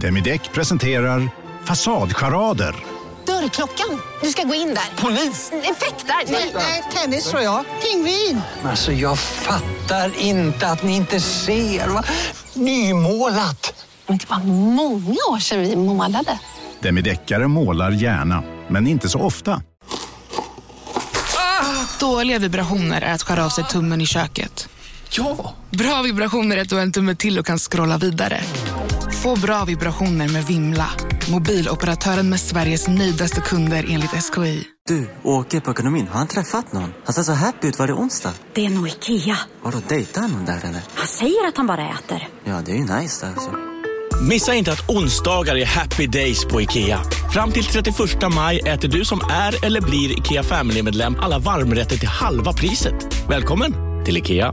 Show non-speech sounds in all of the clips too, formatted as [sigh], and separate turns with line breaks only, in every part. Demideck presenterar Fasadcharader.
Dörrklockan. Du ska gå in där. Polis? Effektar? Nej, nej, tennis tror jag. Pingvin.
Alltså jag fattar inte att ni inte ser. Va? Nymålat!
Men det var många år sedan vi målade.
Demideckare målar gärna, men inte så ofta.
Dåliga vibrationer är att skära av sig tummen i köket.
Ja!
Bra vibrationer är att du har en tumme till och kan scrolla vidare. Få bra vibrationer med Vimla. Mobiloperatören med Sveriges nöjdaste kunder enligt SKI.
Du, åker på ekonomin, har han träffat någon? Han ser så happy ut. Var det onsdag?
Det är nog Ikea.
Har du dejtat någon där eller?
Han säger att han bara äter.
Ja, det är ju nice alltså.
Missa inte att onsdagar är happy days på IKEA. Fram till 31 maj äter du som är eller blir IKEA Family-medlem alla varmrätter till halva priset. Välkommen till IKEA.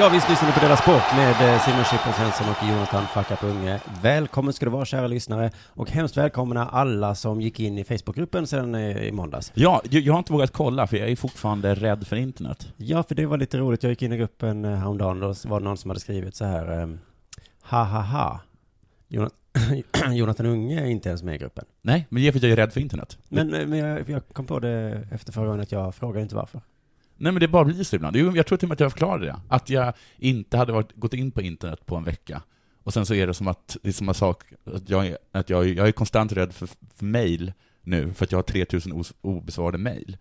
Ja, visst lyssnar ni på Della Sport med eh, Simon Chippen Svensson och Jonathan Fackat Unge. Välkommen ska du vara kära lyssnare och hemskt välkomna alla som gick in i Facebookgruppen sedan eh, i måndags.
Ja, jag, jag har inte vågat kolla för jag är fortfarande rädd för internet.
Ja, för det var lite roligt. Jag gick in i gruppen eh, häromdagen och då var det någon som hade skrivit så här ehm, ha ha ha. Jonat- [clears throat] Jonathan Unge är inte ens med i gruppen.
Nej, men det är för att jag är rädd för internet.
Men, eh, men jag, jag kom på det efter förra gången att jag frågar inte varför.
Nej men det bara blir så ibland. Jo, Jag tror till och med att jag förklarade det. Att jag inte hade varit, gått in på internet på en vecka. Och sen så är det som att, det är samma sak, att jag är, att jag, är- jag är konstant rädd för, för mail nu, för att jag har 3000 os- obesvarade mail.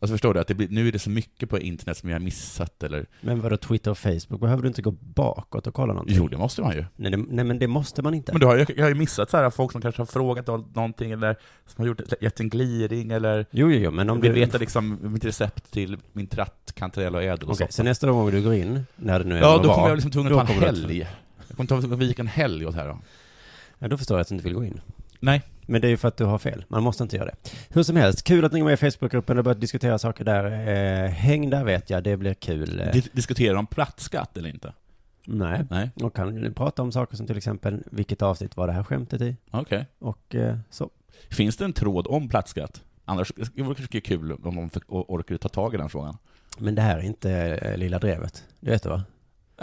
Alltså förstår du? Att det blir, nu är det så mycket på internet som jag har missat eller...
Men vadå Twitter och Facebook? Behöver du inte gå bakåt och kolla någonting?
Jo, det måste man ju.
Nej, det, nej men det måste man inte.
Men då har jag, jag har ju missat så här folk som kanske har frågat någonting eller som har gjort, gett en gliring eller
Jo, jo, jo, men om
vill
du...
veta liksom mitt recept till min tratt, kantarell och ädel och
Okej,
så.
så nästa gång du går in, när det nu är
Ja,
vad
då
var,
kommer jag liksom tvungen
då
att ta en
kommer du
helg. Jag kommer ta vika en helg åt det här då.
Ja, då förstår jag att du inte vill gå in.
Nej.
Men det är ju för att du har fel. Man måste inte göra det. Hur som helst, kul att ni är med i Facebookgruppen och börjat diskutera saker där. Eh, häng där vet jag, det blir kul. Eh,
Dis- Diskutera om plattskatt eller inte?
Nej.
Nej.
Och kan ni prata om saker som till exempel, vilket avsnitt var det här skämtet i?
Okej.
Och eh, så.
Finns det en tråd om plattskatt? Annars det vore kanske kul om de fick- or- orkade ta tag i den frågan.
Men det här är inte eh, Lilla Drevet. Det vet du va?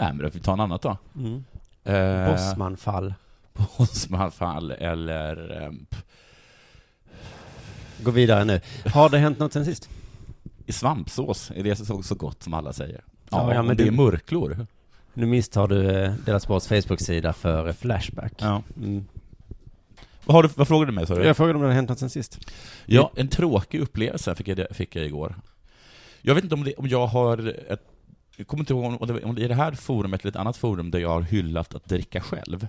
Nej, Äh, men då får vi ta en annat då.
Mm.
Eh, [laughs]
Bosmanfall.
Bosmanfall eller... eh, p-
Gå vidare nu. Har det hänt något sen sist?
I svampsås är det så, så gott som alla säger.
Ja,
Ja,
ja,
ja
men
det
du-
är murklor.
Nu misstar du eh, Dela Sports Facebook-sida för eh, Flashback.
Ja.
Mm.
Vad, har du, vad frågade du mig, sa du?
Jag frågade om det hade hänt något sen sist.
Ja, en tråkig upplevelse fick jag, fick jag igår. Jag vet inte om, det, om jag har ett, jag kommer inte ihåg om det, om det är det här forumet eller ett annat forum där jag har hyllat att dricka själv.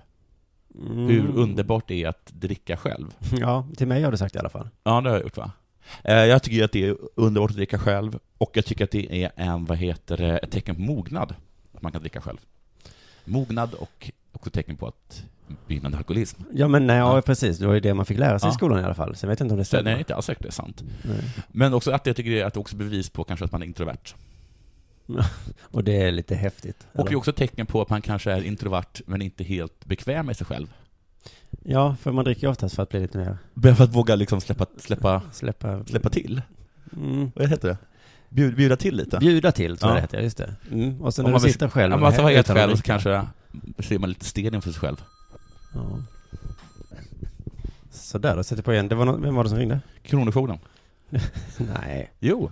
Hur underbart det är att dricka själv.
Ja, till mig har du sagt i alla fall.
Ja, det har jag gjort va? Eh, Jag tycker att det är underbart att dricka själv, och jag tycker att det är en, vad heter det, ett tecken på mognad, att man kan dricka själv. Mognad och också tecken på att begynnande alkoholism.
Ja men nej, ja,
Ja.
precis, det var ju det man fick lära sig i
Ja.
skolan i alla fall. Sen vet jag inte om det
Så, nej,
stämmer.
det är inte alls säkert det är sant.
Nej.
Men också att jag tycker det är- att det också är bevis på kanske att man är introvert.
Och det är lite häftigt.
Och det är
eller?
också ett tecken på att man kanske är introvert men inte helt bekväm med sig själv.
Ja, för man dricker ju oftast för att bli lite mer,
Behöver att våga liksom släppa, släppa,
släppa,
släppa till.
mm.
Vad heter det? Bjud, bjuda till lite.
bjuda till tror
Ja.
jag det heter, just det. Mm. Och sen
Om
när
man
du
vill-
sitter själv
Om
och
man var helt
utan att
själv så
dricka.
kanske ser man lite stel inför sig själv.
Ja. Sådär, då sätter jag på igen. Det var någon, vem var det som ringde?
Kronofogden.
Nej.
Jo.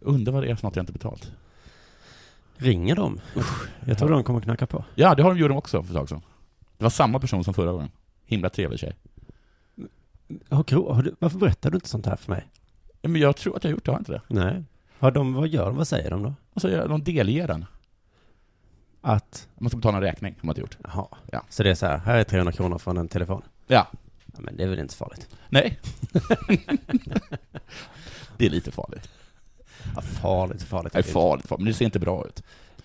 Undrar vad det är för något jag inte betalt.
Ringer de? Jag tror de kommer knacka på.
Ja, det har de gjort de också för ett tag sedan. Det var samma person som förra gången. Himla trevlig tjej.
Har Kro- har du, varför berättar du inte sånt här för mig?
Ja, Men jag tror att jag har gjort det, har jag inte det?
Nej. Har de, vad gör de? Vad säger de då?
Och så gör- de delger den.
Att,
Man ska betala en räkning, har man inte gjort.
jaha.
Ja.
Så det är så här, här är 300 kronor från en telefon.
Ja.
Ja, men det är väl inte så farligt.
Nej. [laughs] det är lite farligt.
Ja, farligt, farligt.
Det är farligt, farligt, men det ser inte bra ut.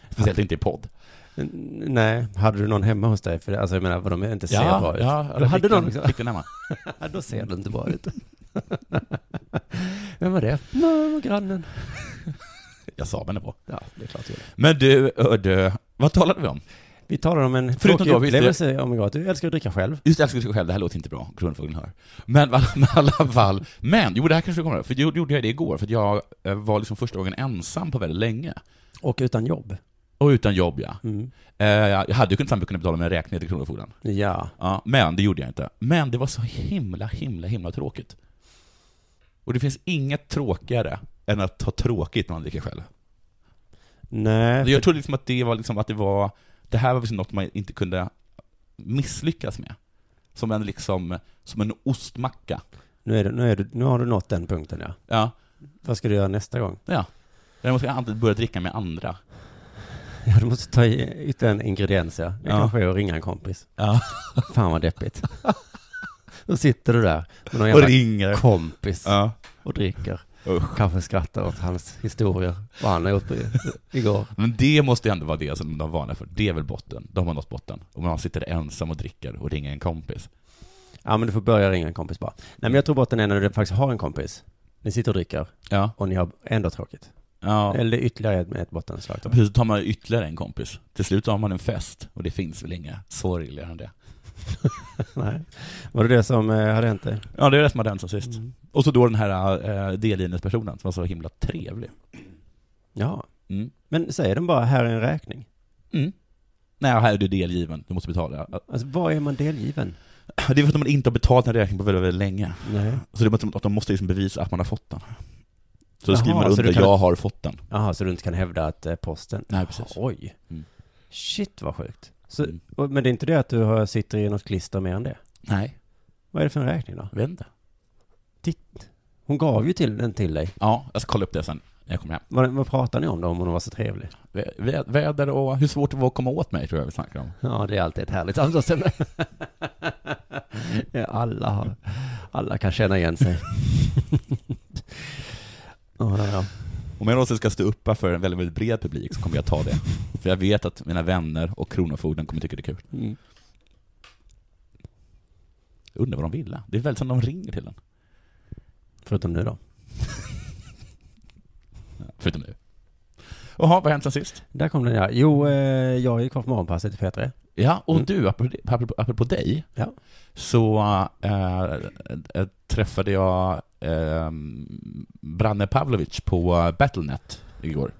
Speciellt inte i podd.
N- Nej, hade du någon hemma hos dig? För det- alltså jag menar, vad de inte ser bra ut. du hade någon också.
Fick den hemma.
[laughs] Ja, då ser du inte bra [laughs] ut. Vem var det? Nej, det var grannen.
Jag sa men det var.
Ja, det är klart du gjorde.
Men du, ödö, vad talade vi om?
Vi talar om en
Förutom
tråkig
då, visst,
upplevelse, oh my god, du älskar att dricka själv.
Just det, jag skulle säga själv, det här låter inte bra, Kronofogden hör. Men i alla- i alla fall, [laughs] men, jo det här kanske du kommer ihåg, för då gjorde jag det igår, för att jag eh, var liksom första gången ensam på väldigt länge.
Och utan jobb.
Och utan jobb ja.
Mm.
Eh, Jag hade ju kunnat sannolikt kunnat betala med en räkning till Kronofogden.
Ja.
Ja, men det gjorde jag inte. Men det var så himla, himla, himla tråkigt. Och det finns inget tråkigare än att ha tråkigt när man dricker själv.
Nej.
Jag trodde liksom att det var liksom att det var, det här var liksom något man inte kunde misslyckas med. Som en liksom, som en ostmacka.
Nu, är du, nu, är du, nu har du nått den punkten ja.
Ja.
Vad ska du göra nästa gång?
Ja. Jag måste alltid börja dricka med andra.
[laughs] Ja, du måste ta i ytterligare en ingrediens ja. Det
Ja.
kanske är att ringa en kompis.
Ja.
Fan vad [laughs] deppigt. Då sitter du där med någon
Och
jävla
ringer.
kompis
Ja.
och dricker.
Usch.
Kanske skrattar åt hans historier, vad han har gjort [laughs] i- igår.
Men det måste ju ändå vara det som de varnar för. Det är väl botten. De har nått botten. Om man sitter ensam och dricker och ringer en kompis.
Ja men du får börja ringa en kompis bara. Nej men jag tror botten är när du faktiskt har en kompis. Ni sitter och dricker
Ja.
och ni har ändå tråkigt.
ja.
Eller ytterligare ett, ett bottenslag. då.
Precis, då tar man ju ytterligare en kompis. Till slut har man en fest och det finns väl inga sorgligare än det.
Nej. Var det det som eh, hade hänt dig?
Ja, det är det som hade hänt sen sist. Och så då den här eh, delgivningspersonen som var så himla trevlig.
Ja.
Mm.
Men säger de bara här är en räkning?
Mm. Nej, här är du delgiven, du måste betala.
Alltså vad är man delgiven?
Det är för att man inte har betalat en räkning på väldigt, väldigt länge.
Nej.
Så det är att de måste liksom bevisa att man har fått den. Så då
Jaha,
skriver man
så
under,
du kan-
jag har fått den.
Jaha, så du inte kan hävda att eh, posten...
Nej, precis.
Oj.
Mm.
Shit vad sjukt. Så,
Mm.
och- Men det är inte det att du har, sitter i något klister mer än det?
Nej,
Vad är det för en räkning då?
jag vet inte.
Titt. Hon gav ju till den till dig.
Ja, jag ska kolla upp det sen när jag kommer hem.
Vad, vad pratar ni om då om hon var så trevlig?
Vä- vä- Väder och hur svårt det var att komma åt mig, tror jag vi snackar om.
Ja, det är alltid ett härligt samtalsämne. [laughs] Ja, alla, har, alla kan känna igen sig. Ja, ja, ja.
Om jag någonsin ska stå uppa för en väldigt, väldigt bred publik så kommer jag ta det. För jag vet att mina vänner och Kronofogden kommer tycka det är kul.
Mm.
Jag undrar vad de ville. Det är väl som de ringer till en.
Förutom nu då.
Förutom nu. Jaha, vad har hänt sen sist?
Där kom den ja. Jo, eh, jag är ju kvar på morgonpasset i P3.
Ja, och
Mm.
du, apropå, apropå, apropå dig,
Ja.
så eh, eh, träffade jag eh, Branne Pavlovic på eh, Battlenet igår.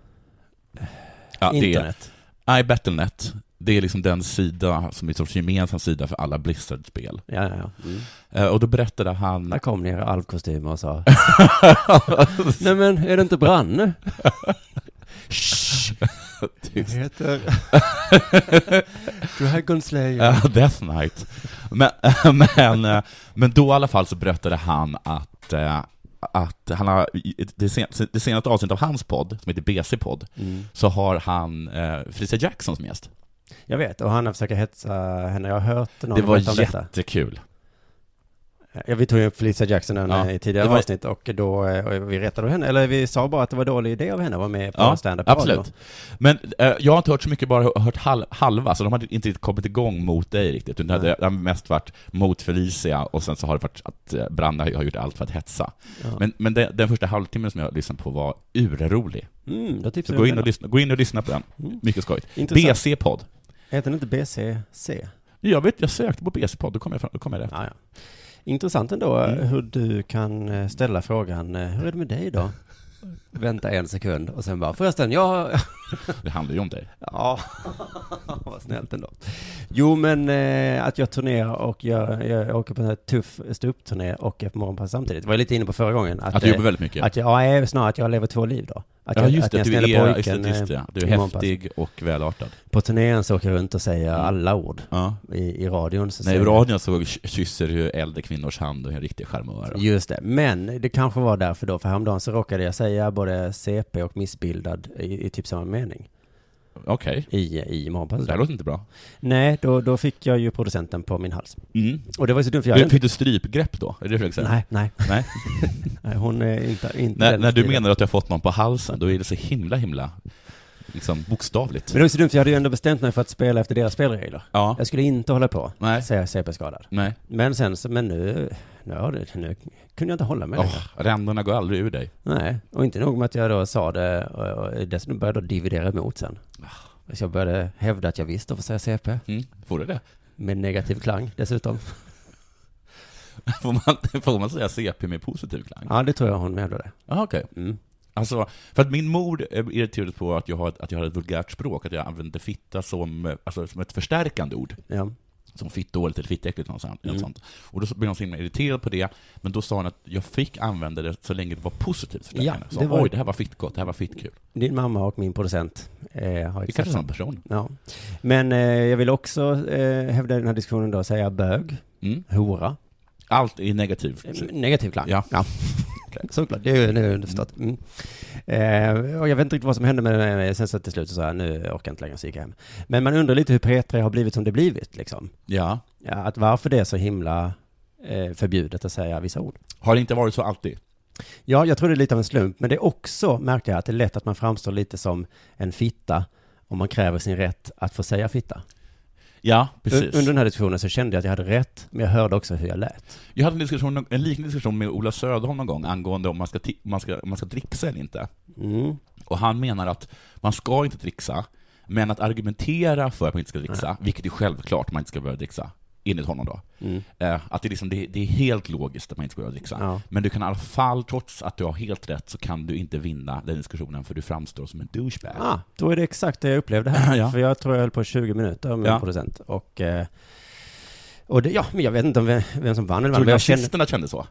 Ja, det är,
Internet.
nej, Battlenet. Det är liksom den sida som är en sorts gemensam sida för alla Blizzard-spel.
Ja, ja, ja. Mm.
Eh, och då berättade han...
Där kom ni i era alvkostymer
[laughs]
och sa Nej men, är det inte Branne? Jag
Tyst.
heter Dragonslayer.
[laughs] Ja, Death Knight. Men, [laughs] men, eh, men då i alla fall så berättade han att, eh, att han har, i- det, sen, det senaste avsnittet av hans podd, som heter BC-podd,
Mm.
så har han eh, Felicia Jackson som gäst.
Jag vet, och han har försökt hetsa henne. Jag har hört någon
det var
berätta om detta.
jättekul.
Ja, vi tog ju upp Felicia Jackson även
Ja,
i tidigare
det var-
avsnitt och då, eh, och vi retade henne, eller vi sa bara att det var dålig idé av henne att vara med på
Ja,
ja, stand-up på radio.
absolut. Men eh, jag har inte hört så mycket, bara hört hal- halva, så de hade inte riktigt kommit igång mot dig riktigt, utan det hade- det har mest varit mot Felicia, och sen så har det varit att eh, Branne har gjort allt för att hetsa.
Ja.
Men, men den, den första halvtimmen som jag lyssnade på var urrolig.
Mm, då
Så
tipsar
gå
vi
in, och lyssna, gå in och lyssna på den. Mycket skojigt.
Mm. Intressant.
BC-podd.
Heter den inte BCC?
Jag vet, jag sökte på BC-podd, då kom jag, fram, då kom jag rätt.
Ja, ja. Intressant ändå eh, hur du kan eh, ställa frågan, eh, hur är det med dig då? [laughs] Vänta en sekund och sen bara, förresten, jag...
Det handlar ju om dig.
[laughs] Ja, [laughs] vad snällt ändå. Jo, men eh, att jag turnerar och jag, jag åker på en här tuff ståuppturné och är på morgonpass samtidigt. Var jag lite inne på förra gången.
Att du
eh,
jobbar väldigt mycket.
Att jag, ja, snarare att jag lever två liv då. Att
ja,
jag,
just
att
det,
jag
att du
snälla
är, just
pojken,
det, just det. Du
i
är
morgonpass.
häftig och välartad.
På turnén så åker jag runt och säger alla ord.
Ja.
I, I radion så
Nej, i
säger
radion så k- kysser du äldre kvinnors hand och är en riktig charmör.
Just det, men det kanske var därför då, för häromdagen så råkade jag säga både CP och missbildad i, i typ samma mening
Okej,
i, i morgonpasset.
det här låter inte bra.
Nej, då, då fick jag ju producenten på min hals.
Mm.
Och det var ju så dumt för jag
Du, fick du strypgrepp då? Är det det du försöker säga?
Nej, nej, [laughs]
Nej.
nej, hon är inte, inte
när,
den
när du
stilen.
menar att du har fått någon på halsen, då är det så himla, himla liksom, bokstavligt.
Men det var så dumt, för jag hade ju ändå bestämt mig för att spela efter deras spelregler.
Ja.
Jag skulle inte hålla på,
Nej.
säga CP-skadad.
Nej.
Men sen så, men nu, nu, har det- nu kunde jag inte hålla mig längre.
Åh, ränderna går aldrig ur dig.
Nej, och inte nog med att jag då sa det, och och dessutom började jag dividera emot sen. Så jag började hävda att jag visste får säga CP.
Mm, får du det? [laughs]
Med negativ klang dessutom.
Får man, [laughs] får man säga CP med positiv klang?
Ja, det tror jag hon hävdade.
Ah, okej.
Mm.
Alltså, för att min mor eh, irriterades på att jag har, ett- att jag har ett vulgärt språk, att jag använder fitta som, eh, alltså, som ett förstärkande ord.
Ja.
Som fittdåligt eller fittäckligt eller något sånt. något sånt. Och då så blev hon så himla irriterad på det, men då sa hon att jag fick använda det så länge det var positivt för
Ja,
henne. Så,
det var-
Oj, det här var fittgott, det här var fittkul.
Din mamma och min producent eh, har
Det kanske är samma person.
Ja. Men eh, jag vill också eh, hävda i den här diskussionen då, säga bög,
Mm.
hora,
Allt är negativt.
eh, negativ klang.
Ja.
Såklart, det är ju det är ju underförstått. Mm. Eh, och jag vet inte riktigt vad som hände med det, sen så till slut så sa jag, nu orkar jag inte längre, så gick jag hem. Men man undrar lite hur P3 har blivit som det blivit, liksom.
ja.
Ja, att varför det är så himla eh, förbjudet att säga vissa ord.
Har det inte varit så alltid?
Ja, jag tror det är lite av en slump, men det är också, märkte jag, att det är lätt att man framstår lite som en fitta om man kräver sin rätt att få säga fitta.
Ja,
Un-
precis.
Under den här diskussionen så kände jag att jag hade rätt, men jag hörde också hur jag lät.
Jag hade en, diskussion, en liknande diskussion med Ola Söderholm någon gång angående om man ska, ti- man ska, om man ska dricksa eller inte.
Mm.
Och han menar att man ska inte dricksa, men att argumentera för att man inte ska dricksa, vilket är självklart man inte ska börja dricksa, enligt honom då. Eh, Att det, är liksom, det, det är helt logiskt att man inte ska börja dricksa.
Mm. Ja.
Men du kan i alla fall, trots att du har helt rätt, så kan du inte vinna den diskussionen för du framstår som en douchebag.
Ah, då är det exakt det jag upplevde [laughs] här.
Ja.
För jag tror jag höll på 20 minuter med
Ja.
en producent. Och, eh, och det, ja, men jag vet inte om vem, vem som vann
Tror
eller vann.
du
Men jag känner,
nazisterna kände så?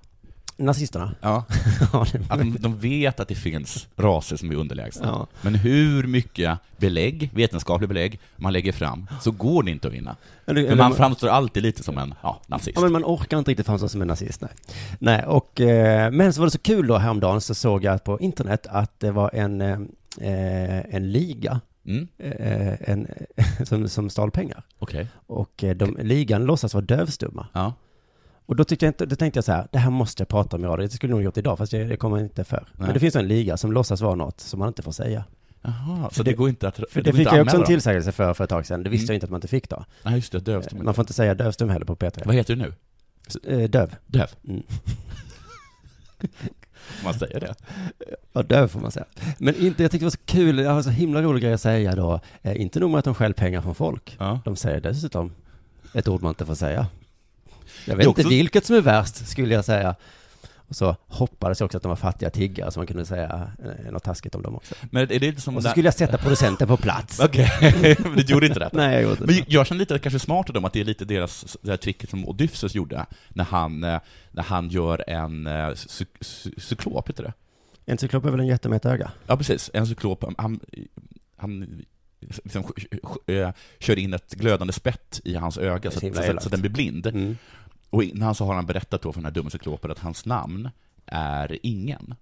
nazisterna.
Ja.
[laughs] Ja, det-
Att de, de vet att det finns raser som är underlägsna.
Ja.
Men hur mycket belägg, vetenskapliga belägg, man lägger fram, så går det inte att vinna.
Eller-
För
eller-
man framstår alltid lite som en ja, nazist.
Ja, men man orkar inte riktigt framstå som en nazist, nej. nej och, eh, men så var det så kul då häromdagen så såg jag på internet att det var en, eh, eh, en liga
Mm,
eh, en, [laughs] som, som stal pengar.
Okej.
Och eh, de, ligan låtsas vara dövstumma.
Ja.
Och då, tyckte jag inte, då tänkte jag så här, det här måste jag prata om i radio. Det skulle jag nog gjort idag, fast det, det kommer jag inte för. Men
Nej.
det finns en liga som låtsas vara något som man inte får säga.
Jaha, så det, går inte att...
För
går
det
inte
fick
att
jag
anmäla
också en
dem?
tillsägelse för, för ett tag sedan. Det visste
Mm.
jag inte att man inte fick då.
Nej, just det, dövstum.
Man får inte säga dövstum heller på P3.
Vad heter du nu?
Eh, Döv.
Döv? [laughs]
Mm.
Får man säger det?
Ja, döv får man säga. Men inte, jag tyckte det var så kul, jag har så himla rolig grej att säga då. Eh, inte nog med att de stjäl pengar från folk,
Ja.
de säger dessutom ett ord man inte får säga. Jag
Det
vet
är
inte
också-
vilket som är värst, skulle jag säga. Och så hoppades jag också att de var fattiga tiggare, så man kunde säga eh, något taskigt om dem också.
Men är det inte som...
Och så
där-
skulle jag sätta producenten
[laughs]
på plats.
Okej, men du gjorde inte det?
Nej, jag gjorde inte
Men
det.
jag känner lite att det kanske är smart av dem, att det är lite deras, det här tricket som Odysseus gjorde, när han, eh, när han gör en eh, cy, cy, cyklop, heter det?
En cyklop är väl en jätte med ett öga?
Ja, precis, en cyklop, han, han liksom, sk- sk- eh, kör in ett glödande spett i hans öga, så,
Det är
att,
så
så,
himla
att- så att den blir blind.
Mm.
Och innan så har han berättat då för den här dumme cyklopen att hans namn är ingen.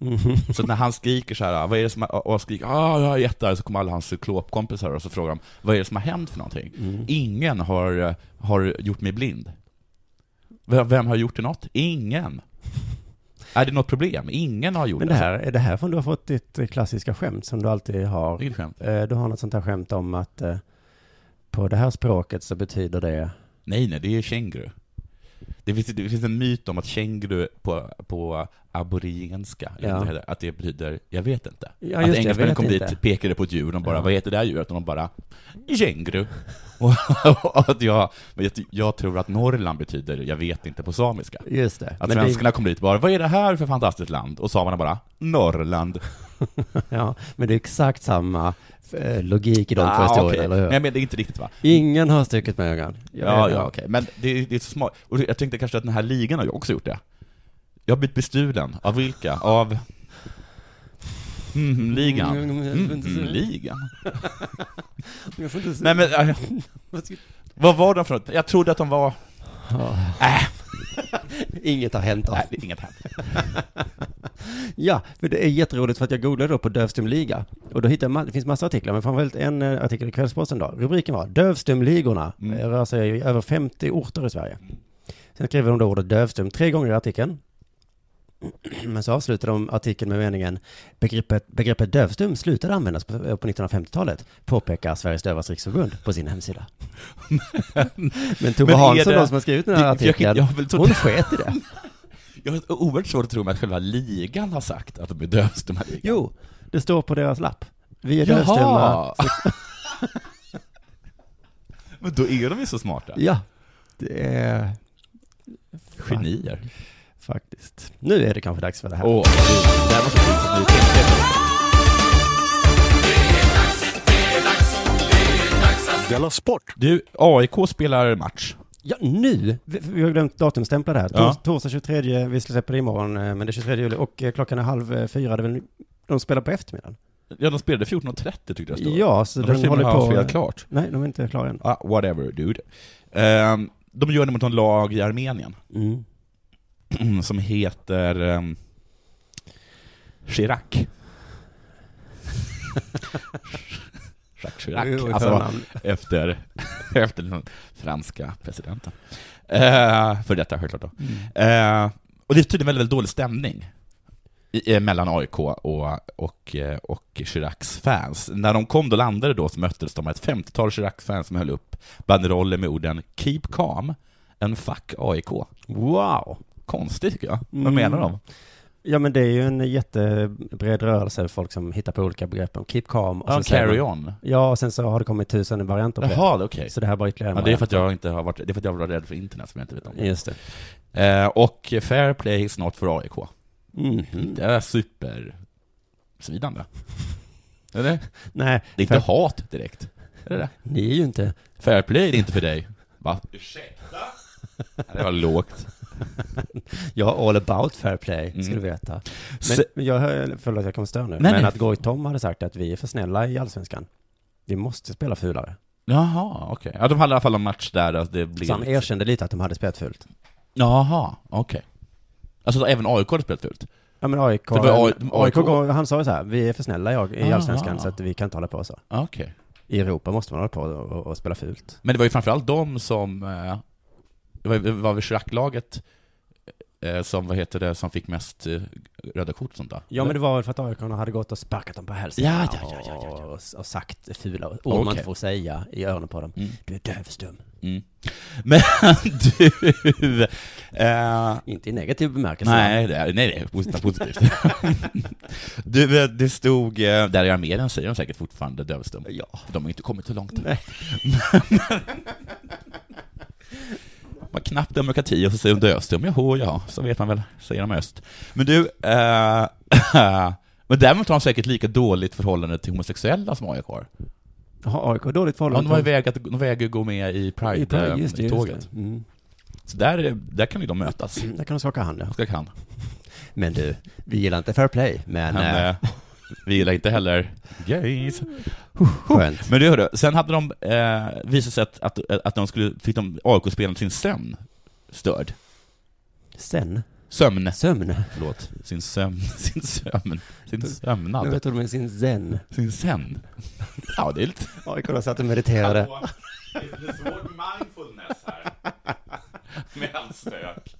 Mm.
Så när han skriker så här, "Ah, vad är det som, har- och han skriker ah, jag är jättearg, så kommer alla hans cyklopkompisar och så frågar de, vad är det som har hänt för någonting?
Mm.
Ingen har, eh, har gjort mig blind. Vem, vem har gjort det något?
[laughs]
Ingen. Är det något problem? Ingen har gjort
Men det här, är det här från du har fått ditt eh, klassiska skämt som du alltid har?
Vilket skämt?
Eh, Du har något sånt här skämt om att eh, på det här språket så betyder det
Nej, nej, det är känguru. Det finns, det finns en myt om att känguru på, på aborigenska,
Ja.
ja. att det betyder ”jag vet inte”.
Ja, just det,
att
jag
engelsmännen
vet
kom
inte.
dit, pekade på ett djur, de bara
Ja.
”vad heter det här djuret?” och de bara
[laughs]
”känguru”. och, och att jag, men jag, jag tror att Norrland betyder ”jag vet inte” på samiska.
Just det.
Att
Men det-
svenskarna kom dit och bara ”vad är det här för fantastiskt land?” och samerna bara ”Norrland”.
Ja, men det är exakt samma eh, logik i de två historierna,
okej.
eller hur?
Nej, men det är inte riktigt va?
Ingen har stuckit med ögonen. Jag
Ja,
vet
ja,
det.
okej. Men det, det är så smart. Och jag tänkte kanske att den här ligan har ju också gjort det. Jag har blivit bestulen. Av vilka? Av... Mm, ligan. Mm, ligan.
Jag får inte se.
Nej men, äh, vad var de för något? Jag trodde att de var... Äh,
Inget har hänt då.
Nej, det är inget hänt.
[laughs] Ja, men det är jätteroligt för att jag googlade då på dövstumliga. Och då hittade jag, ma- det finns massa artiklar, men framförallt en eh, artikel i Kvällsposten då. Rubriken var Dövstumligorna mm. rör sig i över 50 orter i Sverige. Sen skriver de då ordet dövstum tre gånger i artikeln. [clears throat] Men så avslutar de artikeln med meningen begreppet, begreppet dövstum slutade användas på, på 1950-talet, påpekar Sveriges Dövas Riksförbund på sin
[laughs]
hemsida. Men Tove
Men är
Hansson,
det-
då, som har skrivit den här
Jag- jag-
artikeln,
jag vill tro-
hon sket i det.
Jag har oerhört svårt att tro mig att själva ligan har sagt att de är dövs, de här ligan.
Jo, det står på deras lapp. Vi är
Jaha.
dövstumma. Så-
[laughs] Men då är de ju så smarta.
Ja, det är...
Genier.
Faktiskt. Nu är det kanske dags för det här.
Åh, det här måste bli ett nytt
Della Sport.
Du, AIK spelar match.
Ja, nu! Vi, vi har glömt datumstämpla det här.
Ja.
Tors, torsdag 23, vi släpper det imorgon, eh, men det är 23 juli och eh, klockan är halv eh, fyra, det är väl, de spelar på eftermiddagen.
Ja, de spelade 14.30 tyckte jag stod.
Ja, så
de
den
har till och med
håller på-
haft spelat klart.
Nej, de är inte klara än.
Ah, whatever, dude. Ehm, de gör det mot en lag i Armenien [clears throat]
Mm.
som heter um,
[laughs]
Chirac. Jacques
Jo,
Chirac,
i
alltså
förnamn.
efter, [laughs] efter den franska presidenten. Eh, för detta självklart då. Eh, och det är tydligen väldigt, väldigt dålig stämning i, eh, mellan AIK och, och, eh, och Chiracs fans. När de kom då landade då så möttes de av ett 50-tal Chirac-fans som höll upp banderoller med orden ”Keep calm” en fuck AIK.
Wow!
Konstigt tycker jag. Vad
Mm.
menar de?
Ja, men det är ju en jättebred rörelse, folk som hittar på olika begrepp. om Keep calm.
Ja,
sen säger
Alltså, carry
man-
on.
Ja, och sen så har det kommit tusen varianter på
Jaha,
det.
det är okej.
Så det här var ytterligare en
Ja, det är för att
variant.
jag inte har varit, det är för att jag var rädd för internet som jag inte vet om.
Just det.
Eh, och fair play snart för AIK.
Mhm.
Det är super [laughs] svidande. Eller?
Nej,
Det är inte
för-
hat direkt. Är det det?
ni är ju inte...
Fair play det är inte för dig. Va? [laughs] Ursäkta? Det var lågt.
Jag har all about fair play, ska du veta. Men,
Se-
men jag, hör- förlåt att jag kommer störa nu,
Nej,
men
nej.
att Goy Tom hade sagt att vi är för snälla i allsvenskan. Vi måste spela fulare.
Jaha, okej. Ja, de hade i alla fall en match där alltså det blev...
Så han erkände lite att de hade spelat fult.
Jaha, okej. Alltså även AIK hade spelat ut.
Ja men AIK,
Det var A-
AIK,
AIK.
går- han sa ju så här, vi är för snälla i- i
Ah.
allsvenskan så att vi kan inte hålla på så.
Okej.
I Europa måste man hålla på och, och, och spela fult.
Men det var ju framförallt de som... eh, Det var, det var väl Chirac-laget eh, som, vad heter det, som fick mest eh, röda kort och sånt där?
Ja men det var väl för att AIK hade gått och sparkat dem på hälsan
Ja, ja, ja, ja, ja, ja.
Och, och sagt fula ord man
Okej.
inte får säga i öronen på dem.
Mm.
Du är dövstum.
Mm. Men [laughs] du... Eh,
Inte i negativ bemärkelse.
nej, det är, nej, det är positivt. positivt. [laughs] du, eh, det stod... eh, Där i armén säger de säkert fortfarande dövstum. Ja. De har ju inte kommit så långt. [laughs] Nej. man knappt demokrati och så säger de dövstum. Jaha, ja, så vet man väl, säger de i öst. Men du... Eh, [laughs] men däremot har de säkert lika dåligt förhållande till homosexuella som AIK har.
Har AIK dåligt
Ja,
förhållande?
de har ju
till-
vägrat, de vägrar gå med i
I Pride, just det, just
Pride-tåget.
det. Mm.
Så där, eh, där kan ju de mötas.
Där kan de skaka hand ja.
Jag kan.
Men du, vi gillar inte fair play, men
Men,
eh,
eh, vi gillar inte heller gays.
skönt.
Men du hörde, sen hade de eh, visat sig att, att, att de skulle, fick de AIK-spelaren sin sömn störd.
Sen,
Sömn.
sömn.
Förlåt. Sin sömn. [laughs] Sin sömn. Sin
Nu
sömnad.
vet du med sin zen.
Sin sen. Ja, det är lite...
AIK då satt och mediterade.
Det är svår mindfulness här. Med all stök.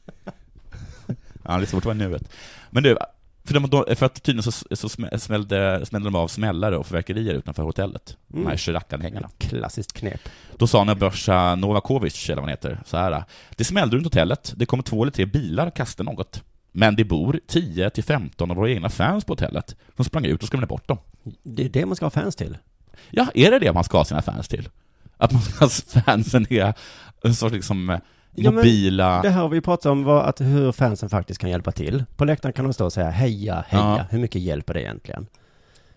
Ja, det är svårt att vara i nuet. Men du, för, de, för att tydligen så, så smä- smällde, smällde de av smällare och fyrverkerier utanför hotellet. De här Chirac-anhängarna.
Klassiskt knep.
Då sa Nebojsa Novakovic, eller vad han heter, så här. Det smällde runt hotellet, det kom två eller tre bilar och kastade något. Men det bor 10 till 15 av våra egna fans på hotellet. De sprang ut och skrämde bort dem.
Det är det man ska ha fans till.
Ja, är det det man ska ha sina fans till? Att man ska fansen är en sorts liksom eh,
Ja, men
mobila...
Det här har vi ju pratat om, var att hur fansen faktiskt kan hjälpa till. På läktaren kan de stå och säga heja, heja.
Ja.
Hur mycket hjälper det egentligen?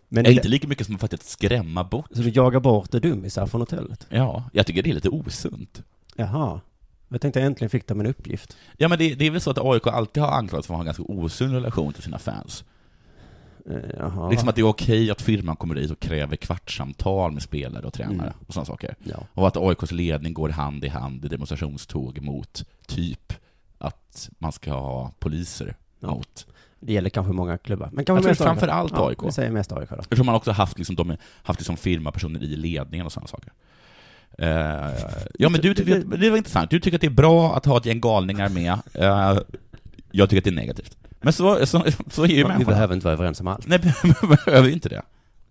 Men
är inte lika mycket som faktiskt att skrämma bort.
Så du jagar bort det dummisar från hotellet?
Ja, jag tycker det är lite osunt.
Jaha. Jag tänkte äntligen fick de en uppgift.
Ja, men det, det är väl så att AIK alltid har anklagats för att ha en ganska osund relation till sina fans.
Eh, Jaha.
Liksom att det är okej att firman kommer dit och kräver kvartssamtal med spelare och tränare och sådana saker.
Mm. Ja.
Och att AIKs ledning går hand i hand i demonstrationståg mot typ att man ska ha poliser
Ja.
mot.
Det gäller kanske många klubbar. Men kanske
tror
mest
framför allt AIK.
Ja, vi säger mest AIK då.
Jag tror man också haft liksom, de, haft liksom firmapersoner i ledningen och sådana saker. Eh, ja men du tycker att, det var intressant, du tycker att det är bra att ha ett gäng galningar med, Eh, jag tycker att det är negativt. Men så, så, så är ju
Vi
människan.
behöver inte vara överens om allt.
Nej, [laughs] vi behöver inte det.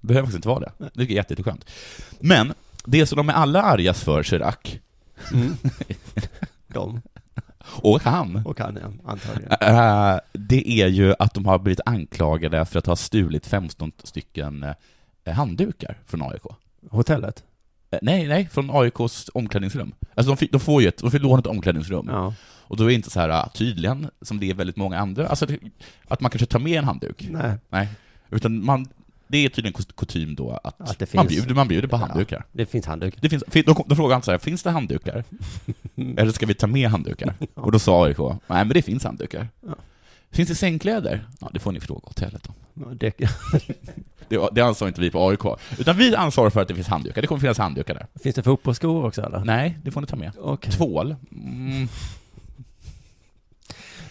Vi behöver faktiskt inte vara det. Det är jätte- jätteskönt. Men, det som de är alla argas för, Chirac,
De
och han,
och kan jag, antagligen.
eh, det är ju att de har blivit anklagade för att ha stulit 15 stycken eh, handdukar från AIK.
Hotellet?
Eh, Nej, nej, från AIKs omklädningsrum. Alltså de, fick, de får ju ett, de får låna ett omklädningsrum.
Ja.
Och då är det inte så här, ah, tydligen, som det är väldigt många andra, alltså det, att man kanske tar med en handduk.
Nej.
Nej. Utan man, det är tydligen kos- kutym då att,
Att det
man,
finns-
bjuder, man bjuder på
Ja.
handdukar.
Det finns handduk.
Det finns, fin- då, kom- då frågade han så här, finns det
[laughs]
handdukar? Eller ska vi ta med handdukar? Och då sa AIK, nej men det finns handdukar.
Ja.
Finns det sängkläder? Ja, det får ni fråga hotellet om.
Ja, Det, [laughs]
Det, var- det ansåg inte vi på AIK. Utan vi ansvarar för att det finns handdukar, det kommer finnas handdukar där.
finns det fotbollsskor också eller?
Nej, det får ni ta med.
Okej.
Tvål? Mm.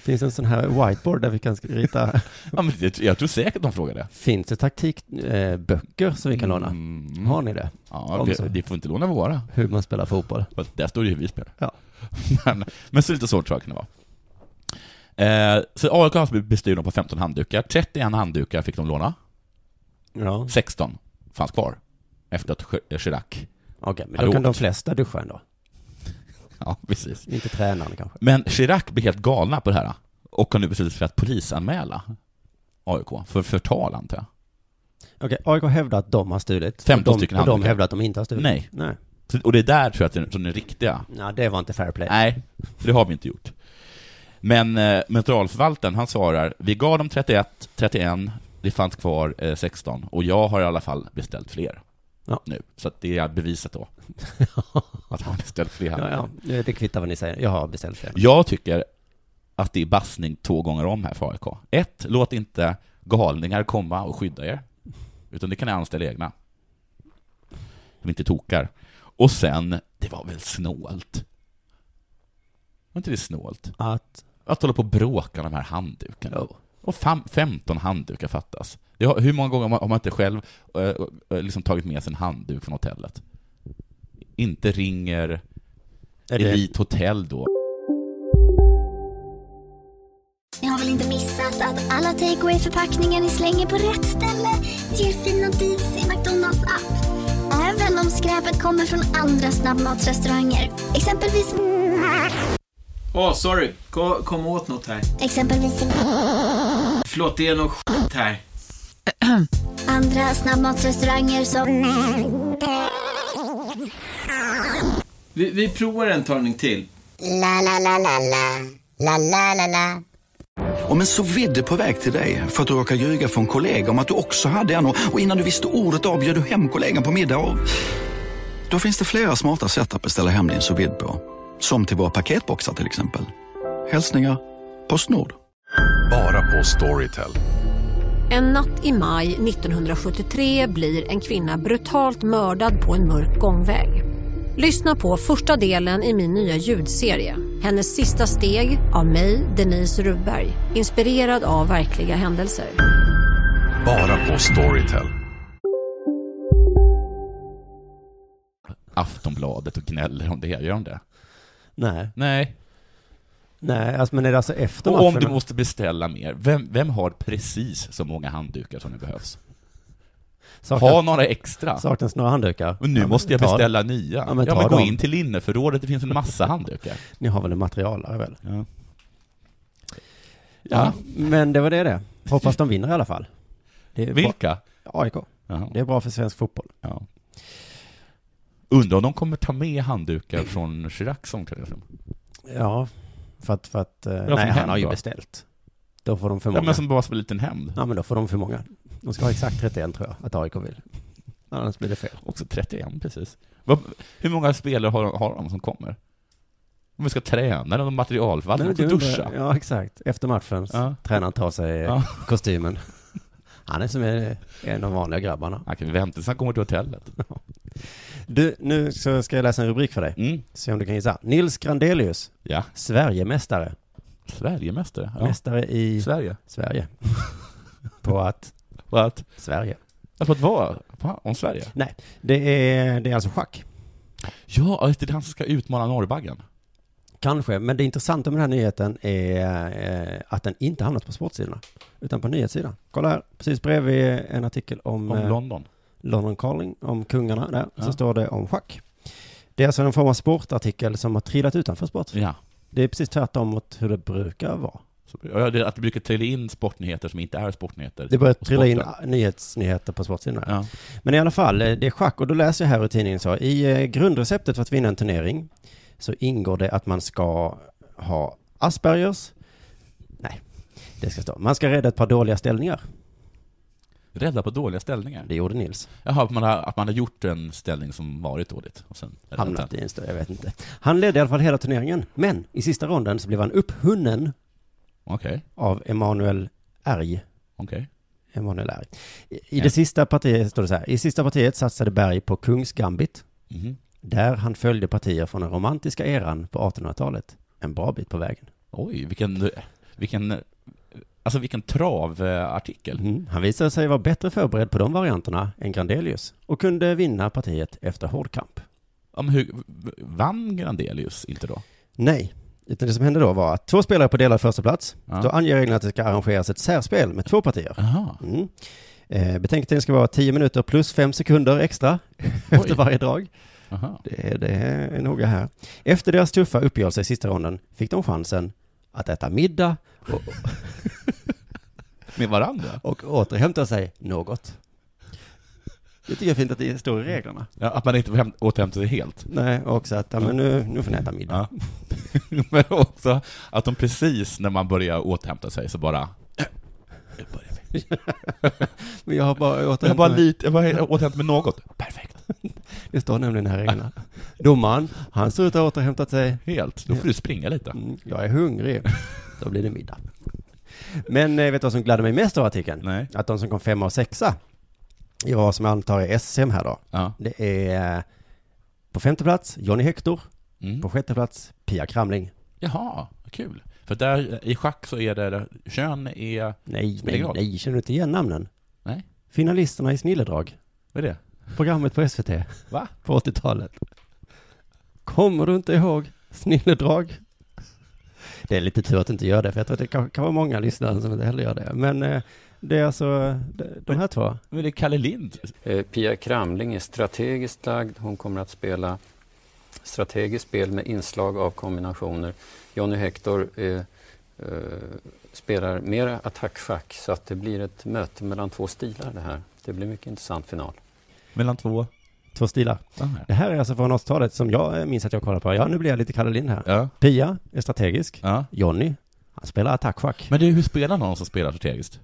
Finns det en sån här whiteboard där vi kan [laughs] rita?
Ja, men det, jag tror säkert de frågar det.
Finns det taktikböcker eh, böcker som vi kan låna?
Mm.
Har ni det?
Ja,
Om så.
vi, vi får inte låna våra.
Hur man spelar fotboll?
Fast Där står det ju hur vi spelar.
Ja.
[laughs] men, men så lite så tror jag det kan vara. Eh, så AIK har bestulna på 15 handdukar. 31 handdukar fick de låna.
Ja.
16 fanns kvar efter att Ch- Chirac... [laughs]
Okej, men
Hade
då kan de
åkt.
flesta duscha ändå.
Ja, precis.
Inte tränaren kanske.
Men Chirac blev helt galna på det här och har nu beslutat sig för att polisanmäla AIK för förtal, antar jag.
Okej, AIK hävdar att de har stulit.
15
och de,
stycken
Och de
handdukar.
hävdar att de inte har stulit.
Nej.
Nej.
Så- Och det är där tror jag att den, som den riktiga...
Nej, det var inte fair play.
Nej, det har vi inte gjort. Men eh, materialförvaltaren, han svarar, vi gav dem 31, 31, det fanns kvar eh, 16 och jag har i alla fall beställt fler.
Ja.
Nu. Så att det är beviset
[laughs]
då. att han har beställt fler.
Ja, ja. Det kvittar vad ni säger. Jag har beställt det.
Jag tycker att det är bassning två gånger om här för AIK. Ett, låt inte galningar komma och skydda er. Utan det kan ni anställa egna. De inte tokar. Och sen, det var väl snålt? Var inte det snålt?
Att...
Att hålla på och bråka om de här handdukarna.
Jo.
Och fem, 15 handdukar fattas. Det har, hur många gånger har man, har man inte själv eh, eh, liksom tagit med sig en handduk från hotellet? Inte ringer
Är det-
Elite Hotel då.
Ni har väl inte missat att alla takeaway förpackningar ni slänger på rätt ställe ger fina deals i McDonalds app. Även om skräpet kommer från andra snabbmatsrestauranger. Exempelvis...
Åh, sorry. Kom, kom åt något här.
Exempelvis...
Förlåt, det är något skit här.
Andra snabbmatsrestauranger som...
Vi, vi provar en talning till.
La, la, la, la, la. La, la, la, la.
Om en så vidde på väg till dig för att du råkar ljuga från kollega om att du också hade en och och innan du visste ordet av bjöd du hem kollegan på middag och... Då finns det flera smarta sätt att beställa hem din sous vide på. Som till våra paketboxar till exempel. Hälsningar Postnord.
Bara på Storytel.
En natt i maj 1973 blir en kvinna brutalt mördad på en mörk gångväg. Lyssna på första delen i min nya ljudserie. Hennes sista steg av mig, Denise Rubberg. Inspirerad av verkliga händelser.
Bara på Storytel.
Aftonbladet och gnäller om det. Gör de det?
Nej.
Nej.
Nej, alltså, men är det alltså efter
Och om
matchen?
du måste beställa mer, vem, vem har precis så många handdukar som det behövs?
Saknas-
Ha några extra.
Saknas några handdukar?
Och nu
Ja, men
måste jag
ta
beställa
dem.
nya.
Ja, men, ta
gå
dem.
in till linneförrådet, det finns en massa
[laughs]
handdukar.
Ni har väl en materialare väl?
Ja.
Ja, men det var det det. Hoppas de vinner i alla fall. Det är
Vilka?
Bra. AIK.
Jaha.
Det är bra för svensk fotboll.
Ja. Undrar om de kommer ta med handdukar från Chiracs omklädningsrum?
Ja, för att, för att eh,
som
nej, han
händer
har ju
då?
beställt. Då får de för
Ja,
många.
men som bara som en liten hämnd.
Ja, men då får de för många. De ska ha exakt 31 tror jag, att AIK vill. Annars blir det fel.
Också 31 precis. Vad, hur många spelare har, har de som kommer? Om vi ska träna, de materialförvaltare, de ska
du undrar-
duscha.
Ja, exakt. Efter matchen,
Ja.
ja. tränaren tar sig
Ja.
kostymen. Han är som en, en av de vanliga grabbarna.
Han kan vänta tills han kommer till hotellet.
Du, nu så ska jag läsa en rubrik för dig.
Mm.
Se om du kan gissa. Nils Grandelius,
Ja.
Sverigemästare.
Sverigemästare? Ja.
Mästare i
Sverige? [laughs]
Sverige. på att
Och att,
Sverige.
att vad var, va? om Sverige?
Nej, det är, det är alltså schack.
Ja, just det, han som ska utmana norrbaggen.
Kanske, men det intressanta med den här nyheten är eh, att den inte hamnat på sportsidorna, utan på nyhetssidan. Kolla här, precis bredvid en artikel om,
Om
eh,
London.
London Calling, om kungarna där,
Ja.
så står det om schack. Det är alltså en form av sportartikel som har trillat utanför sport.
Ja.
Det är precis tvärtom mot hur det brukar vara.
Ja, det- Att det brukar trilla in sportnyheter som inte är sportnyheter.
Det börjar
Och
trilla in
sporten.
nyhetsnyheter på sportsidorna.
Ja.
Men i alla fall, eh, det är schack och då läser jag här i tidningen så. I eh, grundreceptet för att vinna en turnering så ingår det att man ska ha Aspergers. Nej, det ska stå. Man ska rädda ett par dåliga ställningar.
Rädda på dåliga ställningar.
Det gjorde Nils.
Jaha, att man, har, att man har gjort en ställning som varit dåligt. Och sen
Hamnat i en större, jag vet inte. Han ledde i alla fall hela turneringen, men i sista ronden så blev han upphunnen
Okej.
av Emanuel Erg.
Okej.
Emanuel Erg. I, i
Ja.
det sista partiet står det så här. I sista partiet satsade Berg på kungsgambit.
Mhm.
Där han följde partier från den romantiska eran på 1800-talet. En bra bit på vägen.
Oj, vilken, vilken, alltså vilken travartikel.
Mm. Han visade sig vara bättre förberedd på de varianterna än Grandelius och kunde vinna partiet efter hård kamp.
Ja, men hur, vann Grandelius inte då?
Nej, utan det som hände då var att två spelare på delad första plats. Då anger reglerna att det ska arrangeras ett särspel med två partier. Mm. Eh, betänketiden ska vara 10 minuter plus 5 sekunder extra [laughs] efter varje drag.
Aha.
Det, är- det är noga här. Efter deras tuffa uppgörelse i sista ronden fick de chansen att äta middag och,
Med varandra?
och återhämta sig något. Det tycker jag är fint att det står i reglerna.
Ja, att man inte får häm- återhämta sig helt.
Nej, också att, ja, men nu, nu får ni äta middag.
Ja. [laughs] men också att de precis när man börjar återhämta sig så bara... "Äh,
Men jag har bara återhämtat
Jag bara
mig.
lite, jag bara återhämtat mig något. Perfekt.
Det står nämligen här i reglerna. Domaren, han ser ut att ha återhämtat sig.
Helt, då får du springa lite.
Mm, jag är hungrig. Då blir det middag. Men eh, vet du vad som gladde mig mest av artikeln? Nej. Att de som kom femma och sexa i vad som jag antar är SM här då.
Ja.
Det är eh, på femte plats Johnny Hector. På sjätte plats Pia Kramling.
Jaha, vad kul. För där i schack så är det, kön är...
Nej,
spelar
nej,
ingen roll.
nej, känner du inte igen namnen?
Nej.
Finalisterna i Snilledrag.
Vad är det?
Programmet på SVT.
Va?
På 80-talet. Kommer du inte ihåg Snilledrag? Det är lite tur att du inte gör det, för jag tror att det kan, kan vara många lyssnare som inte heller gör det. Men eh, det är alltså eh, de- de här två.
Men det är Kalle Lind.
Eh, Pia Kramling är strategiskt lagd. Hon kommer att spela strategiskt spel med inslag av kombinationer. Johnny Hector eh, eh, spelar mer attackschack så att det blir ett möte mellan två stilar det här. Det blir mycket intressant final.
Mellan två?
Två stilar.
Ah,
Det här är alltså från 80-talet som jag eh, minns att jag kollade på. Ja, nu blir jag lite Kalle Lind här. Pia är strategisk. Johnny, han spelar attackschack.
Men du, hur spelar någon som spelar strategiskt?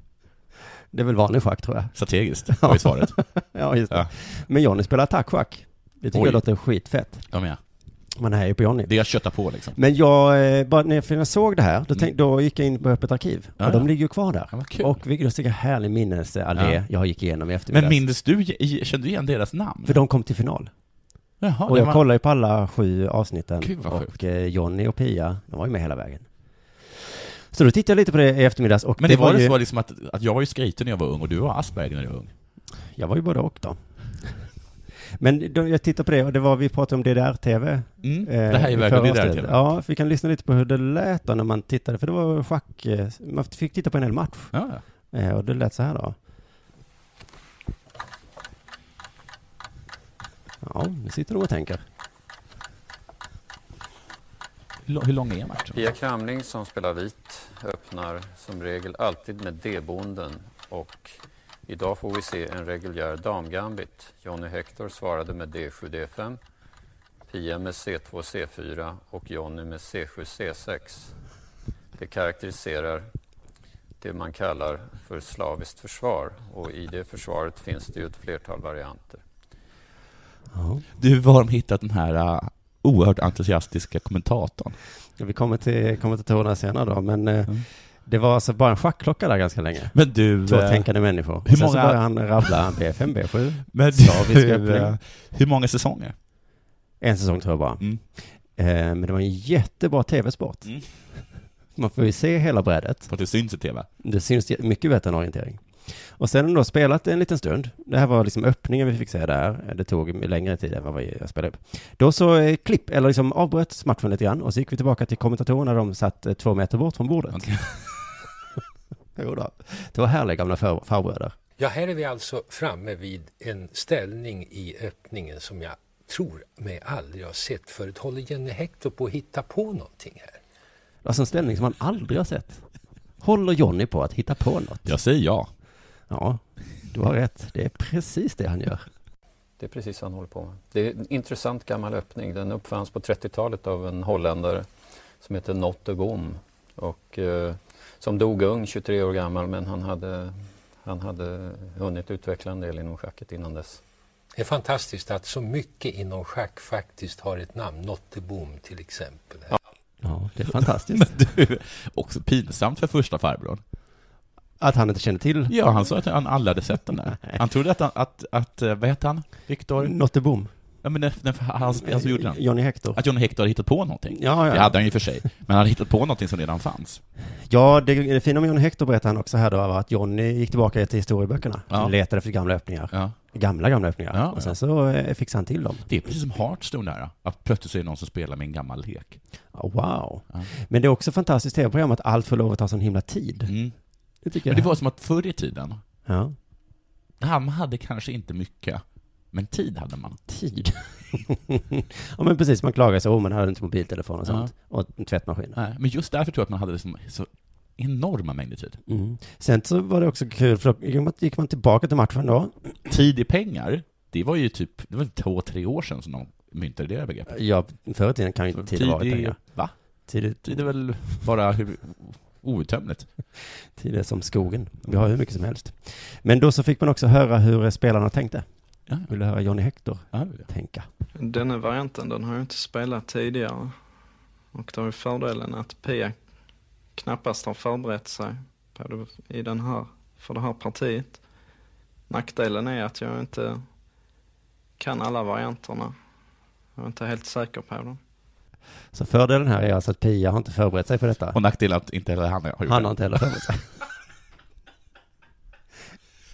Det är väl vanlig schack tror jag.
Strategiskt, var ju svaret.
ja, just det. Men Johnny spelar attackschack. Det tycker
Oj.
jag låter skitfett.
Ja, men ja.
Man är ju på Johnny.
Det är att kötta på liksom.
Men jag, eh, bara när jag såg det här, då, tänk, då gick jag in på Öppet arkiv.
Mm. Ja,
och de
ja.
ligger ju kvar där. och vilken så härlig minnesallé
Ja.
jag gick igenom i eftermiddags.
Men mindes du, i- kände du igen deras namn?
För de kom till final.
Jaha,
och
det
jag
var-
kollade ju på alla sju avsnitten.
Gud, vad
och eh, Johnny och Pia, de var ju med hela vägen. Så då tittade jag lite på det i eftermiddags och
Men det, var,
ju,
det så liksom att, att jag var ju skriten när jag var ung och du var Asperger när du var ung?
Jag var ju både och då. Men då, jag tittade på det och det var, vi pratade om DDR-TV.
Mm,
eh,
det här är
i
verkligen
förra
DDR-TV.
avsnittet. Ja, vi kan lyssna lite på hur det lät då när man tittade, för det var schack, eh, man fick titta på en hel match. Eh, och det lät så här då. Ja, nu sitter de och tänker.
Hur lång- hur lång är matchen?
Pia Kramling som spelar vit öppnar som regel alltid med D-bonden och idag får vi se en reguljär damgambit. Johnny Hector svarade med D7, D5, Pia med C2, C4 och Johnny med C7, C6. Det karaktäriserar det man kallar för slaviskt försvar och i det försvaret finns det ju ett flertal varianter.
Du, var har de hittat den här uh, oerhört entusiastiska kommentatorn?
Ja, vi kommer till kommentatorerna senare då, men eh,
Mm.
det var alltså bara en schackklocka där ganska länge.
Men du...
Två
eh,
tänkande människor.
Hur
Sen så
många...
började han rabbla B5, B7,
Men
slavisk
du,
öppning.
eh, hur många säsonger?
En säsong tror jag bara.
Mm.
Eh, men det var en jättebra tv-sport. Man får ju se hela brädet.
För att det syns i tv.
Det syns mycket bättre än orientering. Och sen har de då spelat en liten stund. Det här var liksom öppningen vi fick se där. Det tog längre tid än vad jag spelade upp. Då så eh, klipp, eller liksom avbröts matchen lite grann och så gick vi tillbaka till kommentatorerna. De satt eh, två meter bort från bordet. [laughs] jo då. Det var härliga gamla far- farbröder.
Ja, här är vi alltså framme vid en ställning i öppningen som jag tror mig aldrig har sett förut. Håller Jenny Hector på att hitta på någonting här?
Alltså en ställning som man aldrig har sett. Håller Johnny på att hitta på något?
Jag säger ja.
Ja, du har rätt. Det är precis det han gör.
Det är precis vad han håller på med. Det är en intressant gammal öppning. Den uppfanns på 30-talet av en holländare som heter Notte Boom. Och, eh, som dog ung, 23 år gammal, men han hade, han hade hunnit utveckla en del inom schacket innan dess.
Det är fantastiskt att så mycket inom schack faktiskt har ett namn. Nottebom till exempel. Här.
Ja, det är fantastiskt.
Men du, också pinsamt för första farbrorn.
[laughs] Att han inte kände till?
Ja, han sa att han aldrig hade sett den där. Han trodde att, han, att, att eh, vad heter han? Viktor?
Nottebom.
Ja, men när, när han, han som gjorde den.
Johnny Hector.
Att Johnny Hector hade hittat på någonting.
Ja, ja.
Det hade han ju för sig. Men han hade hittat på någonting som redan fanns.
Ja, det, det fina med Johnny Hector berättar han också här då, var att Johnny gick tillbaka till historieböckerna.
Ja.
Letade efter gamla öppningar.
Ja.
Gamla, gamla öppningar.
Ja,
och sen så eh, fixade han till dem.
Det är precis som Hearthstone där, att plötsligt så är det någon som spelar med en gammal lek.
Ja, Ah, Wow. Men det är också fantastiskt tv-program att allt får lov att ta sån himla tid. Det
Mm.
tycker
Men
jag.
det var som att förr i tiden,
Ja.
han hade kanske inte mycket, men tid hade man.
Tid? [laughs] ja, men precis. Man klagar sig, åh, man hade inte mobiltelefon och sånt. Och tvättmaskin.
Nej, men just därför tror jag att man hade liksom så enorma mängder tid.
Mm. Sen så var det också kul, för då gick man- gick man tillbaka till matchen då.
Tid i pengar, det var ju typ, det var två, tre år sedan som de myntade det begreppet.
Ja, förr i tiden kan ju inte tid ha varit
Tid är-
pengar.
va?
Tid,
Tid är väl bara hur, outtömligt.
tid är som skogen. Vi har hur mycket som helst. Men då så fick man också höra hur eh, spelarna tänkte.
Ja.
Vill du höra Johnny Hector
ja,
tänka?
Denna varianten den har jag inte spelat tidigare. Och då är fördelen att Pia knappast har förberett sig på det, i den här, för det här partiet. Nackdelen är att jag inte Eh, kan alla varianterna. Jag är inte helt säker på dem.
Så fördelen här är alltså att Pia har inte förberett sig för detta.
Och nackdelen att inte heller han har gjort
Han
det.
har inte heller förberett sig.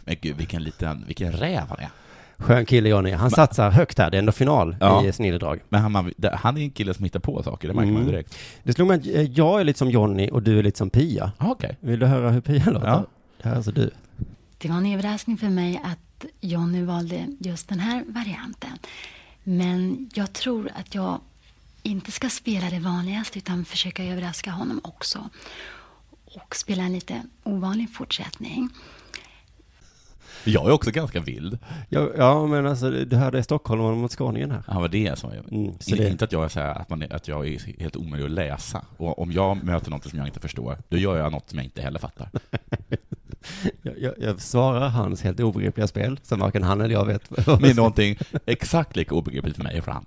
Men gud, vilken liten, vilken räv han är.
Skön kille Johnny. Han satsar högt här. Det är ändå final
Ja.
i snilledrag.
Men han, man- det- han är en kille som hittar på saker, det märker man ju
Mm.
direkt.
Det slog mig att eh, jag är lite som Johnny och du är lite som Pia.
Ah, Okej.
Vill du höra hur Pia låter?
Ja.
Det här är alltså du.
Det var en överraskning för mig att jag nu valde just den här varianten. Men jag tror att jag inte ska spela det vanligaste utan försöka överraska honom också. Och spela en lite ovanlig fortsättning.
Jag är också ganska vild.
Ja, ja men alltså det här det är Stockholm mot skåningen här.
Han var det som jag...
Mm, så
In-
det-
Inte att jag är så här, att, man är, att jag är helt omöjlig att läsa. Och om jag möter något som jag inte förstår, då gör jag något som jag inte heller
[laughs]
fattar.
Jag, jag, jag svarar hans helt obegripliga spel som varken han eller jag vet. [laughs]
Med någonting exakt lika obegripligt för mig och för han.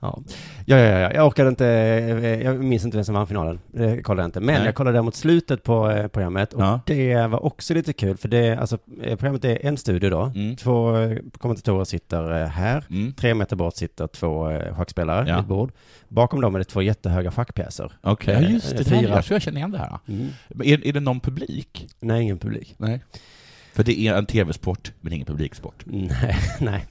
Ja. Ja, ja, ja, jag orkade inte, eh, jag minns inte vem som vann finalen. Det kollade jag inte. Men
Nej.
jag kollade däremot slutet på eh, programmet och
Ja.
det var också lite kul för det, alltså eh, programmet är en studio då.
Mm.
Två eh, kommentatorer sitter eh, här. Tre meter bort sitter två eh, schackspelare
Ja.
vid ett bord. Bakom dem är det två jättehöga schackpjäser.
Okej,
Eh,
ja, just det.
fyra-
Fyra. Jag tror jag känner igen det här.
Mm.
Men Är, är det någon publik?
Nej, Mm. ingen publik. [laughs]
Nej. För det är en tv-sport, men ingen publiksport.
Nej, nej.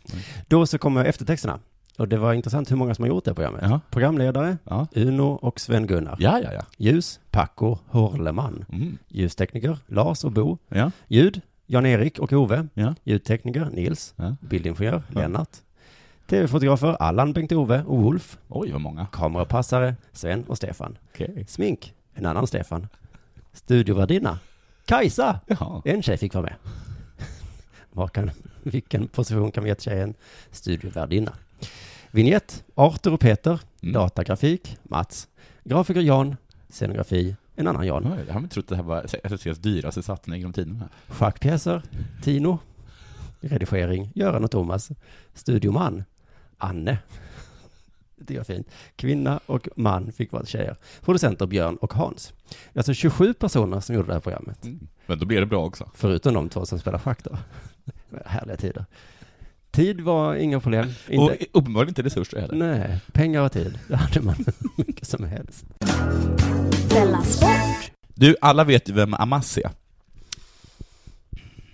Då så kommer eftertexterna. Och det var intressant hur många som har gjort det här programmet.
Ja.
Programledare, Uno och Sven-Gunnar.
Ja, ja, ja.
Ljus, Paco Horleman.
Mm.
Ljustekniker, Lars och Bo.
Ja.
Ljud, Jan-Erik och Ove.
Ja.
Ljudtekniker, Nils.
Ja.
Bildingenjör, Lennart. TV-fotografer, Allan, Bengt-Ove och Wolf.
Oj, vad många.
Kamerapassare, Sven och Stefan. Smink, en annan Stefan. Studiovärdinna, Kajsa. En tjej fick vara med. [laughs] Var kan, vilken position kan vi ge till tjejen? Studiovärdinna. Vignett, Arthur och Peter. Datagrafik, Mats. Grafiker Jan. Scenografi, en annan Jan.
Oj, Jag hade inte trott att det här var SSCs dyraste satsning genom tiderna.
Schackpjäser, Tino. Redigering, Göran och Thomas. Studioman, Anne. [laughs] Det var fint. Kvinna och man fick vara tjejer. Producenter Björn och Hans. Det är alltså 27 personer som gjorde det här programmet.
Men då blir det bra också.
Förutom de två som spelar schack då. [laughs] Härliga tider. Tid var inga problem.
Och uppenbarligen inte resurser heller.
Nej, pengar och tid. Det hade man [laughs] hur mycket som helst.
Du, alla vet ju vem Amas är.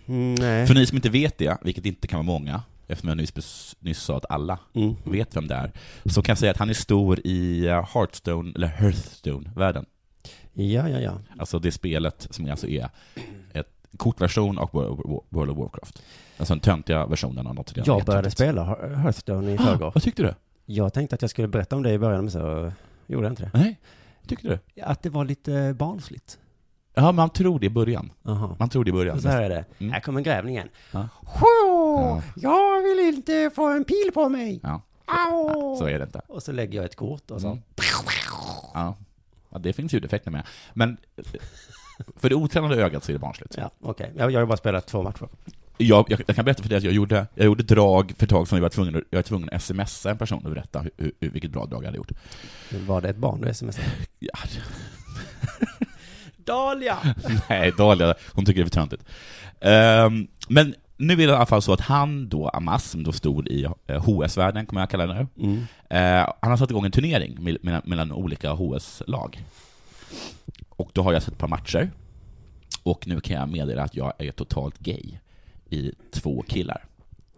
Nej.
För ni som inte vet det, vilket inte kan vara många, eftersom jag nyss, bes- nyss sa att alla
Mm.
vet vem det är, så kan jag säga att han är stor i eh, Hearthstone, eller Hearthstone-världen.
Ja, ja, ja.
Alltså det spelet som alltså är ett kortversion av Wo- World of Warcraft. Alltså den töntiga versionen av något redan
Jag
jättetöntigt.
började spela Hear- Hearthstone i
Ah,
förrgår.
Vad tyckte du?
Jag tänkte att jag skulle berätta om det i början, men så gjorde jag inte det.
Nej, tyckte du?
Att det var lite eh, barnsligt.
Ja, man tror det i början.
Aha.
Man tror det i början.
Så här är det. Här kommer grävningen.
Mm. Ja.
Hå! Jag vill inte få en pil på mig!
Ja.
Au!
Så är det inte.
Och så lägger jag ett kort och så...
Mm. Ja. ja, det finns ljudeffekter med. Men eh, för det otränade ögat så är det barnsligt.
Ja, okej. Jag, jag har ju bara spelat två matcher.
Jag, jag, jag kan berätta för dig att jag gjorde, jag gjorde drag för ett tag som jag var tvungen, att- jag var tvungen att smsa en person och berätta hur, hur, vilket bra drag jag hade gjort.
Var det ett barn du smsade?
Ja.
Dahlia!
[laughs] Nej, Dahlia, hon tycker det är för töntigt. Ehm, men nu är det i alla fall så att han då, Amas, som då stod i eh, HS-världen, kommer jag kalla det nu,
Mm.
eh, han har satt igång en turnering mel- mellan, mellan olika HS-lag. Och då har jag sett ett par matcher, och nu kan jag meddela att jag är totalt gay i två killar.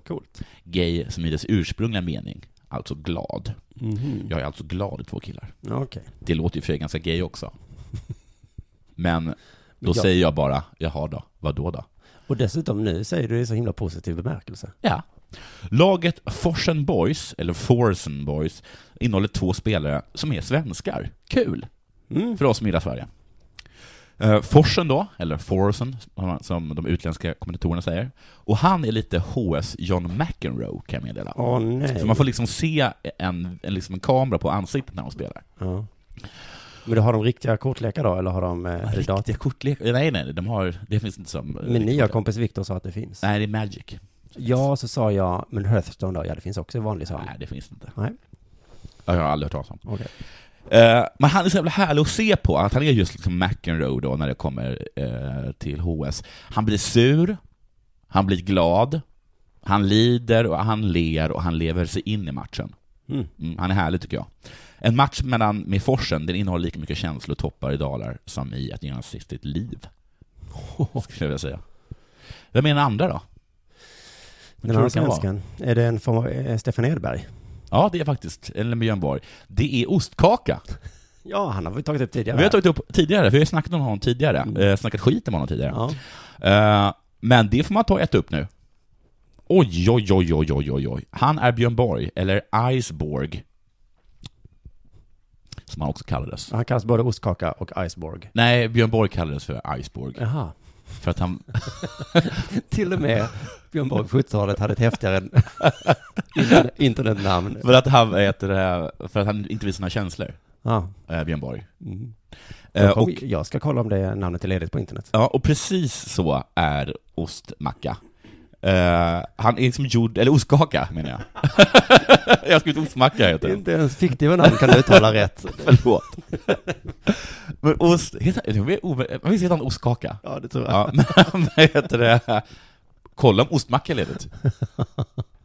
Coolt.
Gay som i dess ursprungliga mening, alltså glad.
Mhm.
Jag är alltså glad i två killar.
Ja, okej.
Det låter ju för sig ganska gay [laughs] också. Men då
jag-
säger jag bara, jaha då, vad då då?
Och dessutom nu säger du det i så himla positiv bemärkelse.
Ja. Laget Forsen Boys, eller Forsen Boys, innehåller två spelare som är svenskar. Kul!
Mm.
För oss som gillar Sverige. Eh, Forsen då, eller Forsen, som man- som de utländska kommentatorerna säger. Och han är lite HS John McEnroe, kan jag meddela.
Åh, nej.
Så man får liksom se en, en, liksom en kamera på ansiktet när de spelar.
Ja. Men då har de riktiga kortlekar då, eller har de... Eh,
Riktiga kortlekar? Nej, nej, de har, det finns inte som...
Min nya kompis Viktor sa att det finns.
Nej, det är Magic.
Ja, så sa jag, men Hearthstone då? Ja, det finns också i vanlig sal. Nej,
det finns inte.
Nej.
Ja, Jag har aldrig hört talas om.
Okej.
Eh, men han är så jävla härlig att se på, att han är just liksom McEnroe då när det kommer eh, till HS. Han blir sur, han blir glad, han lider och han ler och han lever sig in i matchen.
Mm.
han är härlig tycker jag. En match mellan, med Forsen, den innehåller lika mycket känslor, toppar och dalar som i ett genomsnittligt [laughs] liv. Skulle jag vilja säga. Vem är den andra då? Vad
Den
tror
andra
du det kan vara?
svenskan. Är det en form av eh, Stefan Edberg?
Ja, det är faktiskt, eller Björn Borg, det är ostkaka.
Ja, han har vi tagit upp tidigare.
Vi har tagit upp tidigare, vi har ju snackat om honom tidigare,
Mm.
eh, snackat skit om honom tidigare. Eh, men det får man ta och äta upp nu. Oj, oj, oj, oj, oj, oj, oj. Han är Björn Borg, eller Iceborg. Som han också kallades.
Han kallas både Ostkaka och Iceborg.
Nej, Björn Borg kallades för Iceborg.
[laughs] Jaha.
För att han...
Till och med Björn Borg på 70-talet hade ett häftigare [laughs] internet- internetnamn.
För att han, heter, eh, för att han inte visar sina känslor.
Ja.
Eh, Björn Borg.
Mm.
Eh,
Jag kom-
och-
Jag ska kolla om det namnet är ledigt på internet.
Ja, och precis så är ostmacka. Eh, han är liksom gjord, eller ostkaka menar jag. [laughs] jag har skrivit ostmacka heter den.
Inte ens fiktiva namn kan du
[laughs]
uttala rätt.
Förlåt. Men ost, heter, jag vet- ove- visst heter han ostkaka?
Ja, det tror jag.
Ja, [laughs] men vad heter det? Kolla om ostmacka är ledigt.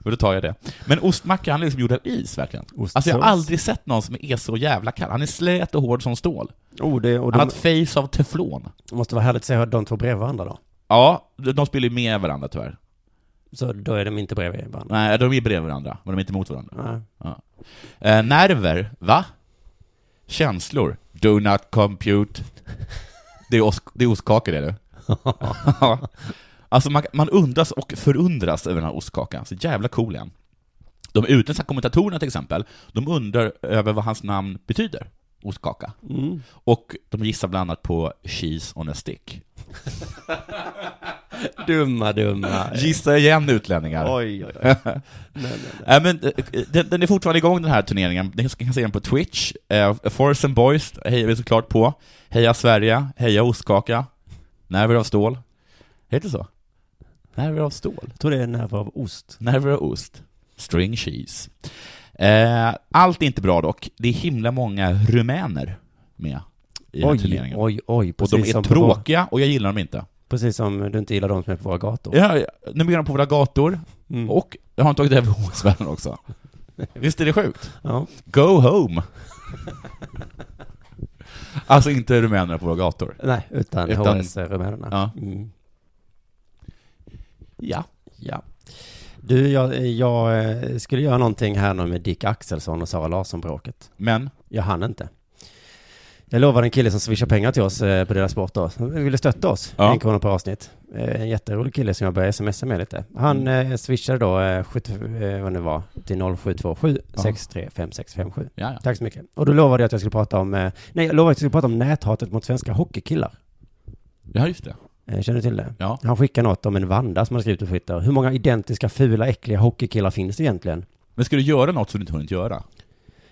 För då tar jag det. Men ostmacka, han är liksom gjord av is verkligen.
Ostsås.
Alltså jag har aldrig sett någon som är så jävla kall. Han är slät och hård som stål.
Oh, det, och
han har
de,
ett face av teflon.
det måste vara härligt att se hur de två bredvid varandra då.
Ja, de de spelar ju med varandra tyvärr.
Så då är de inte bredvid varandra.
Nej, de är bredvid varandra, men de är inte mot varandra.
Nej.
Ja. Eh, nerver, va? Känslor, do not compute. Det är, os- det är ostkaka det du. Ja. alltså man, man undras och förundras över den här ostkakan, så jävla cool är han. De utländska kommentatorerna till exempel, de undrar över vad hans namn betyder, ostkaka.
Mm.
Och de gissar bland annat på cheese on a stick.
Dumma, [laughs] dumma.
Gissa igen utlänningar.
Oj, oj, oj. Nej, nej,
Nej, men, eh, den, den är fortfarande igång den här turneringen. Ni kan se den på Twitch. Eh, Forest and Boys hejar vi såklart på. Heja Sverige, heja ostkaka. Nerver av stål. Heter det så? Nerver av stål?
Jag tror det är nerver av ost.
Nerver av ost. String cheese. Eh, allt är inte bra dock. Det är himla många rumäner med i den här
Oj,
turneringen.
oj, oj,
Och de
precis
är
som på
tråkiga och jag gillar dem inte.
Precis som du inte gillar de som är på våra gator. Mm.
Ja, ja, nu är de på våra gator, och jag har tagit över [laughs] HS-världen också. Visst är det sjukt?
Ja.
Go home! alltså inte rumänerna på våra gator.
Nej, utan HS-rumänerna.
Ja.
Mm.
Ja.
Ja. Du, jag, jag eh, skulle göra någonting här nu med Dick Axelsson och Sara Larsson-bråket.
Men?
Jag hann inte. Jag lovade en kille som swishar pengar till oss eh, på deras sport då. Han ville stötta oss.
Ja.
En krona per avsnitt. Eh, En jätterolig kille som jag började smsa med lite. Han
Mm.
eh, swishade då, eh, 70, eh, vad det nu var, till 0727
Ja.
635657.
Ja, ja.
Tack så mycket. Och då lovade jag att jag skulle prata om, eh, nej, jag lovade att jag skulle prata om näthatet mot svenska hockeykillar.
Ja, just det.
Eh, Känner du till det?
Ja.
Han skickar något om en Vanda som han skrivit och skickar. Hur många identiska, fula, äckliga hockeykillar finns det egentligen?
Men ska du göra något som du inte hunnit göra?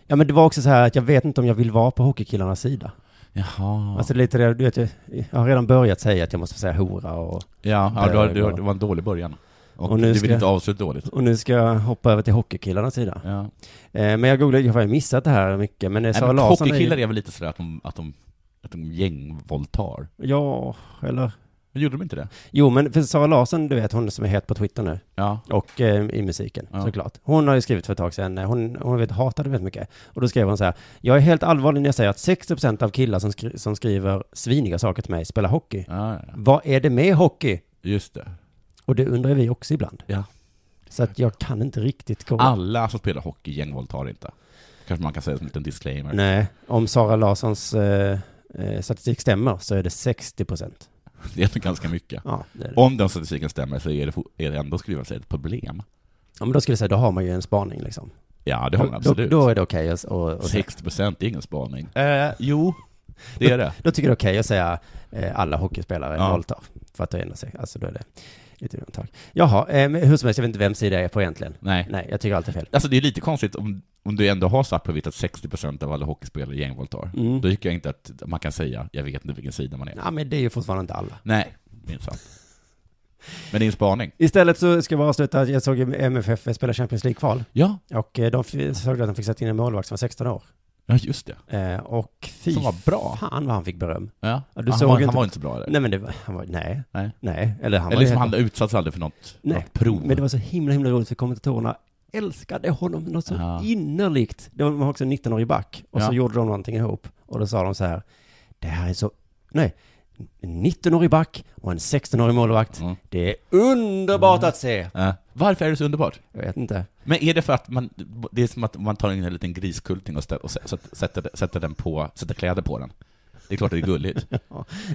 Ja men det var också så här att jag vet inte om jag vill vara på hockeykillarnas sida.
Jaha.
Alltså lite det, du vet, jag jag har redan börjat säga att jag måste säga hora och...
Ja, ja du har, du har,
bög
det
och-
var en dålig början. Och,
Och nu
du vill
ska-
inte avsluta dåligt.
Och nu ska jag hoppa över till hockeykillarnas sida. Eh, men jag googlade, jag har ju missat det här mycket, men det är
Nej,
Sara
men
Larsson
hockeykillar
är
är väl lite sådär att de, att de, att de gängvåldtar?
ju... Ja, eller...
Men gjorde de inte det?
Jo, men för Sara Larsson, du vet hon som är het på Twitter nu.
Ja.
Och eh, i musiken,
Ja.
såklart. Hon har ju skrivit för ett tag sedan, eh, hon, hon vet, hatade väldigt mycket. Och då skrev hon så här, jag är helt allvarlig när jag säger att 60% av killar som, skri- som skriver sviniga saker till mig spelar hockey. Vad är det med hockey?
Just det.
Och det undrar vi också ibland.
Ja.
Så att jag kan inte riktigt kolla.
Alla som spelar hockey gängvåldtar inte. Kanske man kan säga som en liten disclaimer.
Nej, om Sara Larssons eh, eh, statistik stämmer så är det 60 procent.
Det är nog ganska mycket.
Ja, det är det.
Om den statistiken stämmer så är det, fo- är det ändå, skulle jag säga, ett problem.
Ja, men då skulle jag säga, då har man ju en spaning liksom.
Ja, det har man
Då-
absolut.
Då, då är det okej att... och- och-
60 procent är ingen spaning. Eh, jo, det är det.
Då, då tycker jag det är okej att säga eh, alla hockeyspelare
Ja.
våldtar. För att det ändrar sig. Alltså då är det lite undantag. Jaha, eh, men hur som helst, jag vet inte vems sida jag är på egentligen.
Nej.
[laughs] Nej, jag tycker allt är fel.
Alltså det är lite konstigt om, om du ändå har svart på vitt att 60% av alla hockeyspelare gängvåldtar.
Mm.
Då tycker jag inte att man kan säga, jag vet inte vilken sida man är.
Ja, men det är ju fortfarande inte alla.
Nej, det är inte sant. Men det är en spaning.
Istället så ska vi avsluta, jag såg ju MFF spela Champions League-kval.
Ja.
Och eh, de f- såg att de fick sätta in en målvakt som var 16 år.
Ja, just
det. Eh, och fy
Som var bra.
fan vad han fick beröm.
Ja.
du
Han
såg
var-
inte...
han var inte så bra, eller?
Nej, men det var, han var, nej.
Nej.
nej. Eller han
Eller
var
liksom,
helt-
han utsattes aldrig för något,
nej.
något prov.
Men det var så himla, himla roligt för kommentatorerna älskade honom något så
Ja.
innerligt. De var också en 19-årig back och
Ja.
så gjorde de någonting ihop och då sa de så här, det här är så, nej, en 19-årig back och en 16-årig målvakt.
Mm.
Det är underbart att se.
Ja. Varför är det så underbart?
Jag vet inte.
Men är det för att man, det är som att man tar in en liten griskulting och, stä, och sä- sätter, sätter, sätter, den på, sätter kläder på den? Det är klart det är gulligt.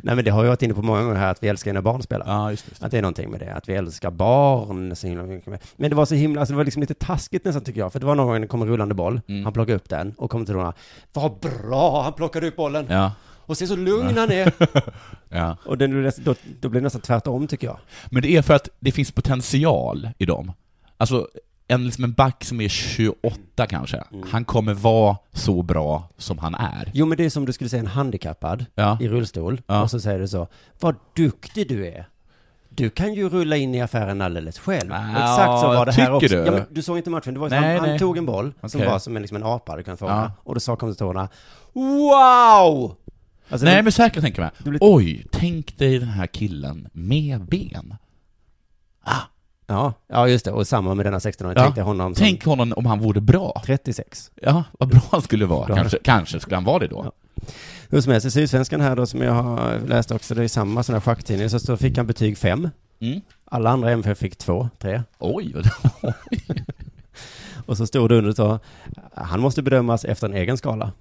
Nej men det har jag varit inne på många gånger här, att vi älskar när barn spelar.
Ja, just det,
Att det är någonting med det, att vi älskar barn så himla mycket. med. Men det var så himla, alltså det var liksom lite taskigt nästan tycker jag, för det var någon gång när det kom en rullande boll,
Mm.
han plockade upp den och kom till honom, vad bra, han plockade upp bollen.
Ja.
Och sen så lugn han är.
[laughs] Ja.
Och den, blev nästan- då, då blev det nästan tvärtom tycker jag.
Men det är för att det finns potential i dem. Alltså, en, liksom en back som är 28 kanske, han kommer vara så bra som han är.
Jo men Mm. det är som du skulle säga en handikappad
Ja.
i rullstol,
Ja.
och så säger du så, vad duktig du är. Du kan ju rulla in i affären alldeles själv. Exakt så var det här
tycker
också.
du?
Ja, men du såg inte matchen, det var ju
Nej,
nej, han,
nej.
han tog en boll som
Okej.
var som en, liksom en apa du kan fånga,
Ja.
och då sa kommentatorerna, wow! Alltså,
Nej
det-
men säkert tänker jag mig. Oj, tänk dig den här killen med ben.
Ja, ja just det. Och samma med denna 16-åring.
Ja.
Tänk dig honom som...
Tänk honom om han vore bra.
36.
Ja, vad bra han skulle
Då
vara.
hade-
Kanske, kanske skulle han vara det då.
Hur som helst, i Sydsvenskan här då som jag har läst också, det är samma sån här schacktidning, så, så fick han betyg 5.
Mm.
Alla andra MFF fick 2, 3.
Oj!
och så stod det under så, han måste bedömas efter en
[laughs]
egen skala.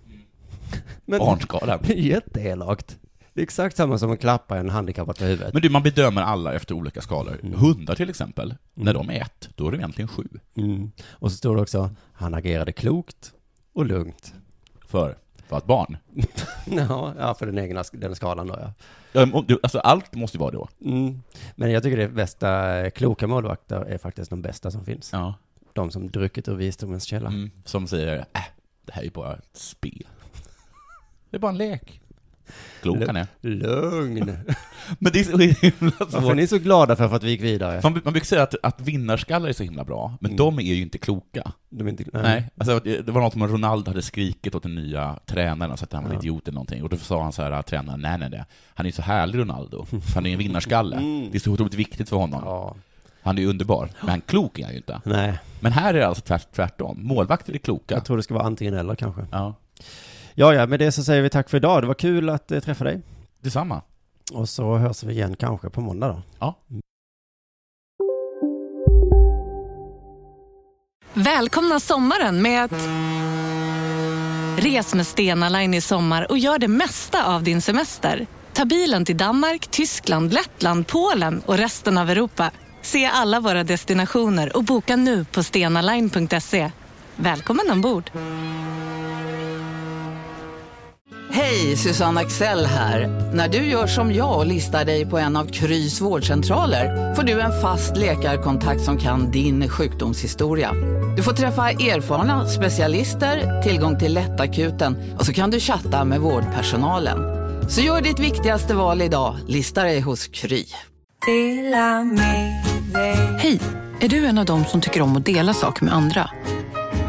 Barnskala. [laughs]
Det är Jätteelakt. Det är exakt samma som att klappa en handikappad på huvudet.
Men du, man bedömer alla efter olika skalor. Hundar till exempel, när de är ett, då är de egentligen sju.
Mm. Och så står det också, han agerade klokt och lugnt. [laughs]
För, för att barn.
Ja, ja, för den egna den skalan då ja.
Ja, men du, Alltså allt måste ju vara då.
Mm. Men jag tycker det bästa, eh, kloka målvakter är faktiskt de bästa som finns.
Ja.
De som druckit ur visdomens källa.
Mm. Som säger, äh, det här är ju bara ett spel. Det är bara en lek. Klok han är. [laughs]
Lugn.
Men det är så himla svårt.
Varför är ni så glada för, för att vi gick vidare?
Man, man brukar säga att, att vinnarskallar är så himla bra, men de är ju inte kloka.
De är inte- Mm. nej.
nej. Alltså, det det var något om att Ronaldo hade skrikit åt den nya tränaren så att han var en
Ja.
idiot eller någonting. Och då sa han så här, tränaren, nej nej nej, han är ju så härlig
[laughs]
Ronaldo, för han är ju en vinnarskalle.
Mm.
Det är så otroligt viktigt för honom. Han är ju underbar, men han klok är han ju inte.
Nej.
Men här är det alltså tvärt, tvärtom, målvakter är kloka.
Jag tror det ska vara antingen eller kanske.
Ja.
Ja, ja, med det så säger vi tack för idag. Det var kul att eh, träffa dig.
Detsamma.
Mm. Och så hörs vi igen kanske på måndag då.
Ja.
Välkomna sommaren med att... Res med Stena Line i sommar och gör det mesta av din semester. Ta bilen till Danmark, Tyskland, Lettland, Polen och resten av Europa. Se alla våra destinationer och boka nu på stenaline.se. Välkommen ombord!
Hej, Susanne Axel här. När du gör som jag och listar dig på en av Krys vårdcentraler får du en fast läkarkontakt som kan din sjukdomshistoria. Du får träffa erfarna specialister, tillgång till lättakuten och så kan du chatta med vårdpersonalen. Så gör ditt viktigaste val idag, listar dig hos Kry.
Hej! Är du en av dem som tycker om att dela saker med andra?